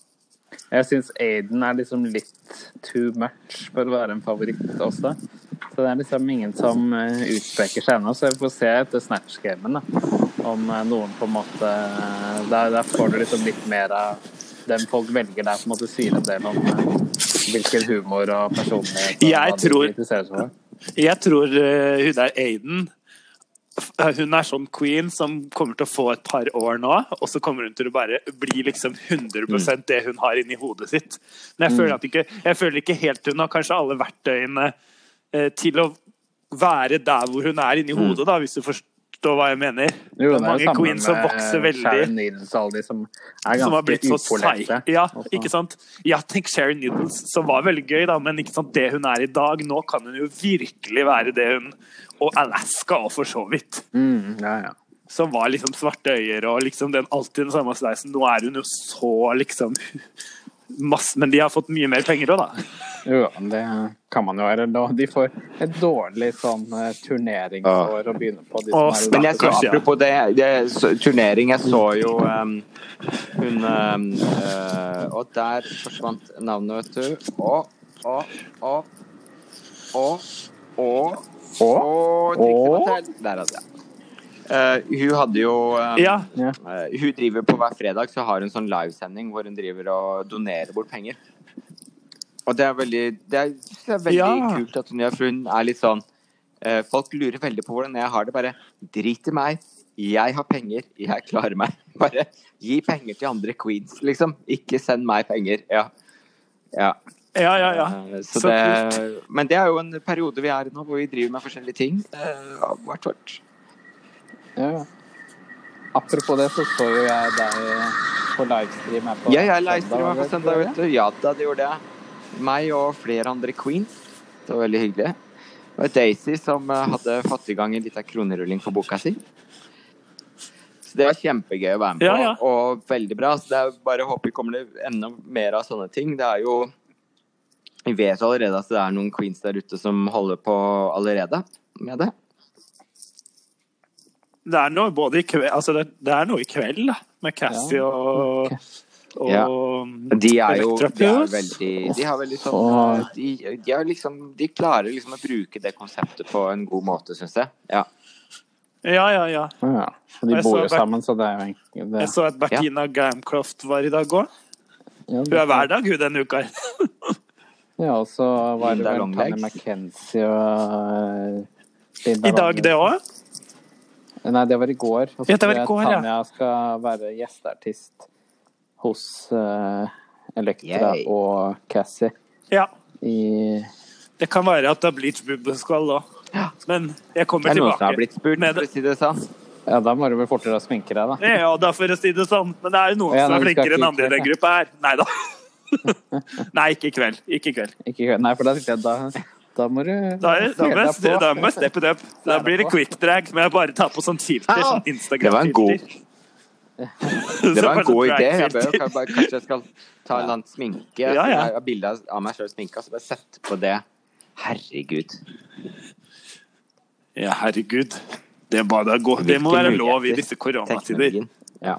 Jeg syns Aiden er liksom litt too much for å være en favoritt også. Så det er liksom ingen som eh, utpeker seg ennå, så vi får se etter Snatch-gamen, da. Om eh, noen på en måte eh, Der, der får du liksom litt mer av den folk velger der, på en måte sier en del om eh, hvilken humor og personlighet og Jeg hva de tror- kritiserer seg for. Jeg tror eh, hun der Aiden f- eh, hun er sånn queen som kommer til å få et par år nå, og så kommer hun til å bare bli liksom 100 det hun har inni hodet sitt. Men jeg føler, at ikke, jeg føler ikke helt hun har kanskje alle verktøyene eh, til å være der hvor hun er inni hodet, da, hvis du forstår hva jeg mener. Mm. Jo, det er det er jo mange sammen queens som vokser med veldig. Sharon Needles og alle de som er som har ganske blitt så upolerte. seig. Ja, også. ikke sant? Ja, tenk Sherry Needles, som var veldig gøy, da, men ikke sant, det hun er i dag Nå kan hun jo virkelig være det hun Og Alaska òg, for så vidt. Mm, ja, ja. Som var liksom svarte øyer og liksom den alltid den samme sveisen. Nå er hun jo så liksom masse, Men de har fått mye mer penger òg, da. Jo, det kan man jo være. Da De får et dårlig sånn eh, turneringsår å begynne på. De Å, som Men er jeg så, Kanskje, ja. apropos det, det så, turnering Jeg så jo em, hun em, eh, Og der forsvant navnet, vet du. Og, og, og, og, og, og, og- Trixie Mattel. Der hadde jeg. Eh, hun hadde jo em, Ja. eh, Hun driver på hver fredag så har hun sånn livesending hvor hun driver og donerer bort penger. Og det er veldig, det er, det er veldig Ja. kult at hun gjør, for hun er litt sånn eh, Folk lurer veldig på hvordan jeg har det. Bare drit i meg. Jeg har penger. Jeg klarer meg. Bare gi penger til andre queens, liksom. Ikke send meg penger. Ja. ja. Ja, ja, ja. Eh, Så Så kult. det, men det er jo en periode vi er i nå, hvor vi driver med forskjellige ting. Eh, av hvert vårt. Ja, ja. Apropos det, så så jo jeg deg eh, på livestream her på Ja, jeg livestreama på vet søndag, du. vet du. Ja da, det gjorde jeg. Meg og flere andre queens. Det var veldig hyggelig. Det var Daisy som eh, hadde fått i gang en liten kronerulling for boka si. Så det var kjempegøy å være med på, Ja, ja. og veldig bra. Så det er bare å håpe vi kommer det enda mer av sånne ting. Det er jo Vi vet jo allerede at det er noen queens der ute som holder på allerede med det. Det er noe både i kveld Altså, det, det er noe i kveld, da. Med Cassie og, og Ja. De er jo Elektra de, er Plus. veldig, de har veldig sånn Åh. eh, de, de, har liksom, de klarer liksom å bruke det konseptet på en god måte, syns jeg. Ja. Ja, ja, ja. Ja, ja. De Jeg bor så jo Bert- sammen, så det er jo egentlig det. Jeg så at Bertina Gamcroft var i dag òg. Ja, Hun er hver dag, hun, denne uka. Ja, og så var det Linda vel Longlegs. Tanja McKenzie og eh, Linda I dag, det Longlegs. òg. Nei, det var i går. Og så Ja, det var i tror jeg går, ja. Tanja skal være gjesteartist hos eh, Elektra Yay. og Cassie Ja. i Det kan være at det har blitt bubbeskall da. Men jeg Det kommer er noen som tilbake. har blitt spurt, Med for å det. si det sånn. Ja, da må du vel fortere sminke deg, da. Ja da, for å si det sånn. Men det er jo noen Ja, som er men vi skal flinkere enn ikke andre i i den gruppa her. Nei da. Nei, ikke i kveld. Ikke i kveld. Ikke, gjør- nei, for da, tenkte jeg, da, da må du Da, er, da, må jeg, Følg deg på. da må jeg steppe det opp. Da blir det quick drag. Men jeg bare tar på sånn filter. Sånn Det var en god- Instagram-filter. Det var en god idé. Jeg bør, Drag-filter. kan- bare- kanskje jeg skal ta en eller annen sminke. Ja, ja. Jeg har bilde av- av meg sjøl sminka, så bare sett på det. Herregud. Ja, herregud. Det, er bare, det, går, det må Hvilke være lov i muligheter disse koronatider. Teknologien. Ja.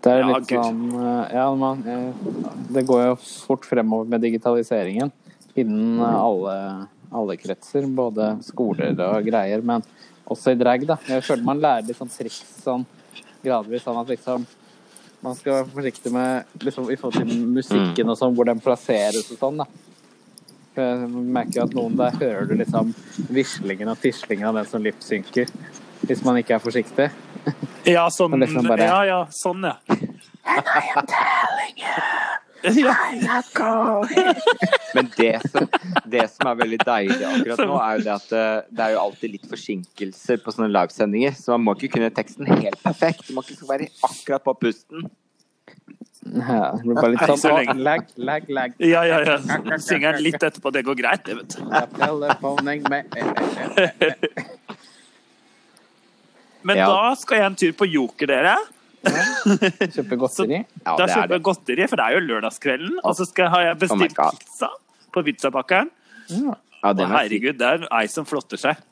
Det er Ja, litt Gud. sånn eh, Ja, man, eh, det går jo fort fremover med digitaliseringen innen eh, alle, alle kretser, både skoler og greier, men også i drag, da. Jeg føler man lærer litt sånn triks sånn gradvis, sånn at liksom man skal være forsiktig med liksom, i forhold til musikken og sånn, hvor den plasseres og sånn, da. For Jeg merker jo at noen der hører du liksom vislingen og tislingen av den som lipsynker, hvis man ikke er forsiktig. Ja, sånn, Men liksom bare- ja, ja, sånn, ja. ja. Men det som, det som er veldig deilig akkurat nå, er jo det at eh, det er jo alltid litt forsinkelser på sånne livesendinger, så man må ikke kunne teksten helt perfekt. Man skal være akkurat på pusten. Ja, det blir bare litt Nei, så sånn lenge. å, lag, lag, lag. Ja, ja, ja. Synger den litt etterpå. Det går greit, det, vet du. Jeg telefoning med Men Ja. da skal jeg en tur på Joker, dere. Kjøper godteri. da Ja, det er kjøper det. Oh jeg godteri, for det er jo lørdagskvelden. Og så skal, har jeg my bestilt God. pizza på pizzapakkeren. Ja. Ja, Og det må jeg si. herregud, det er ei som flotter seg.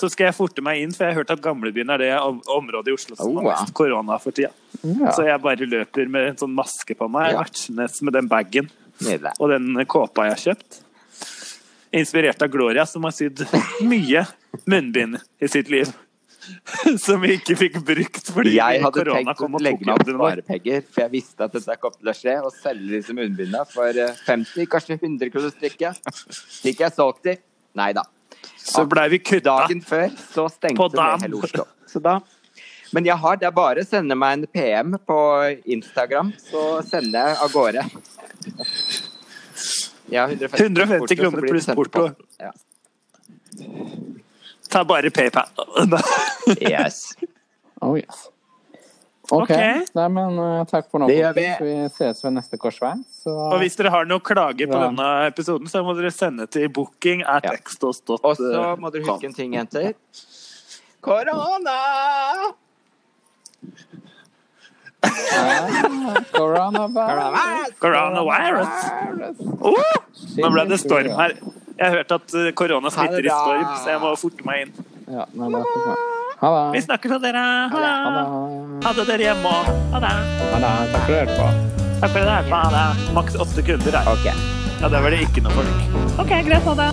Så skal jeg forte meg inn, for jeg har hørt at Gamlebyen er det om- området i Oslo som Oh, har ja. mest korona for tida. Ja. Så jeg bare løper med en sånn maske på meg, Ja. vertsnes med den bagen Nydelig. og den kåpa jeg har kjøpt. Inspirert av Gloria, som har sydd mye munnbind i sitt liv. Som vi ikke fikk brukt fordi Jeg hadde korona tenkt kom å og tok legge meg opp jobben vår. sparepenger, for jeg visste at dette kom til å skje, og selge disse munnbindene for eh, 50, kanskje 100 kroner stykket. Fikk jeg solgt de? Nei da. Så blei vi kutta. Dagen før så På stengte dam. ned hele Oslo. Så da Men jeg har det er bare å sende meg en PM på Instagram, så sender jeg av gårde. Jeg har 150, 150 porto, så kroner blir det pluss sendt porto. på. Ja. Ta bare PayPal. Yes. Oh, yes. OK. Ok. Nei, men eh, takk for nå. Det gjør folkens. Vi ses ved neste korsvei. Så Og hvis dere har noen klager på Ja. denne episoden, så må dere sende til booking at eh, Ja. extos.com. Og så må dere huske en ting, jenter. Korona! Ja. Coronavirus. Coronavirus! Oh! Nå ble det storm her. Jeg hørte at eh, korona Ha det smitter i storm, bra. så jeg må forte meg inn. Ja, nei, det er ikke bra. Ha Vi det. snakkes, da, dere. Ha Ha det. det. Ha det, dere hjemme òg. Ha det. Ha det. Takk for at du hørte på. Takk for det. Ha det. Maks åtte kunder her. Ok. Ja, der var det ikke noe folk. Ok, greit. Ha det.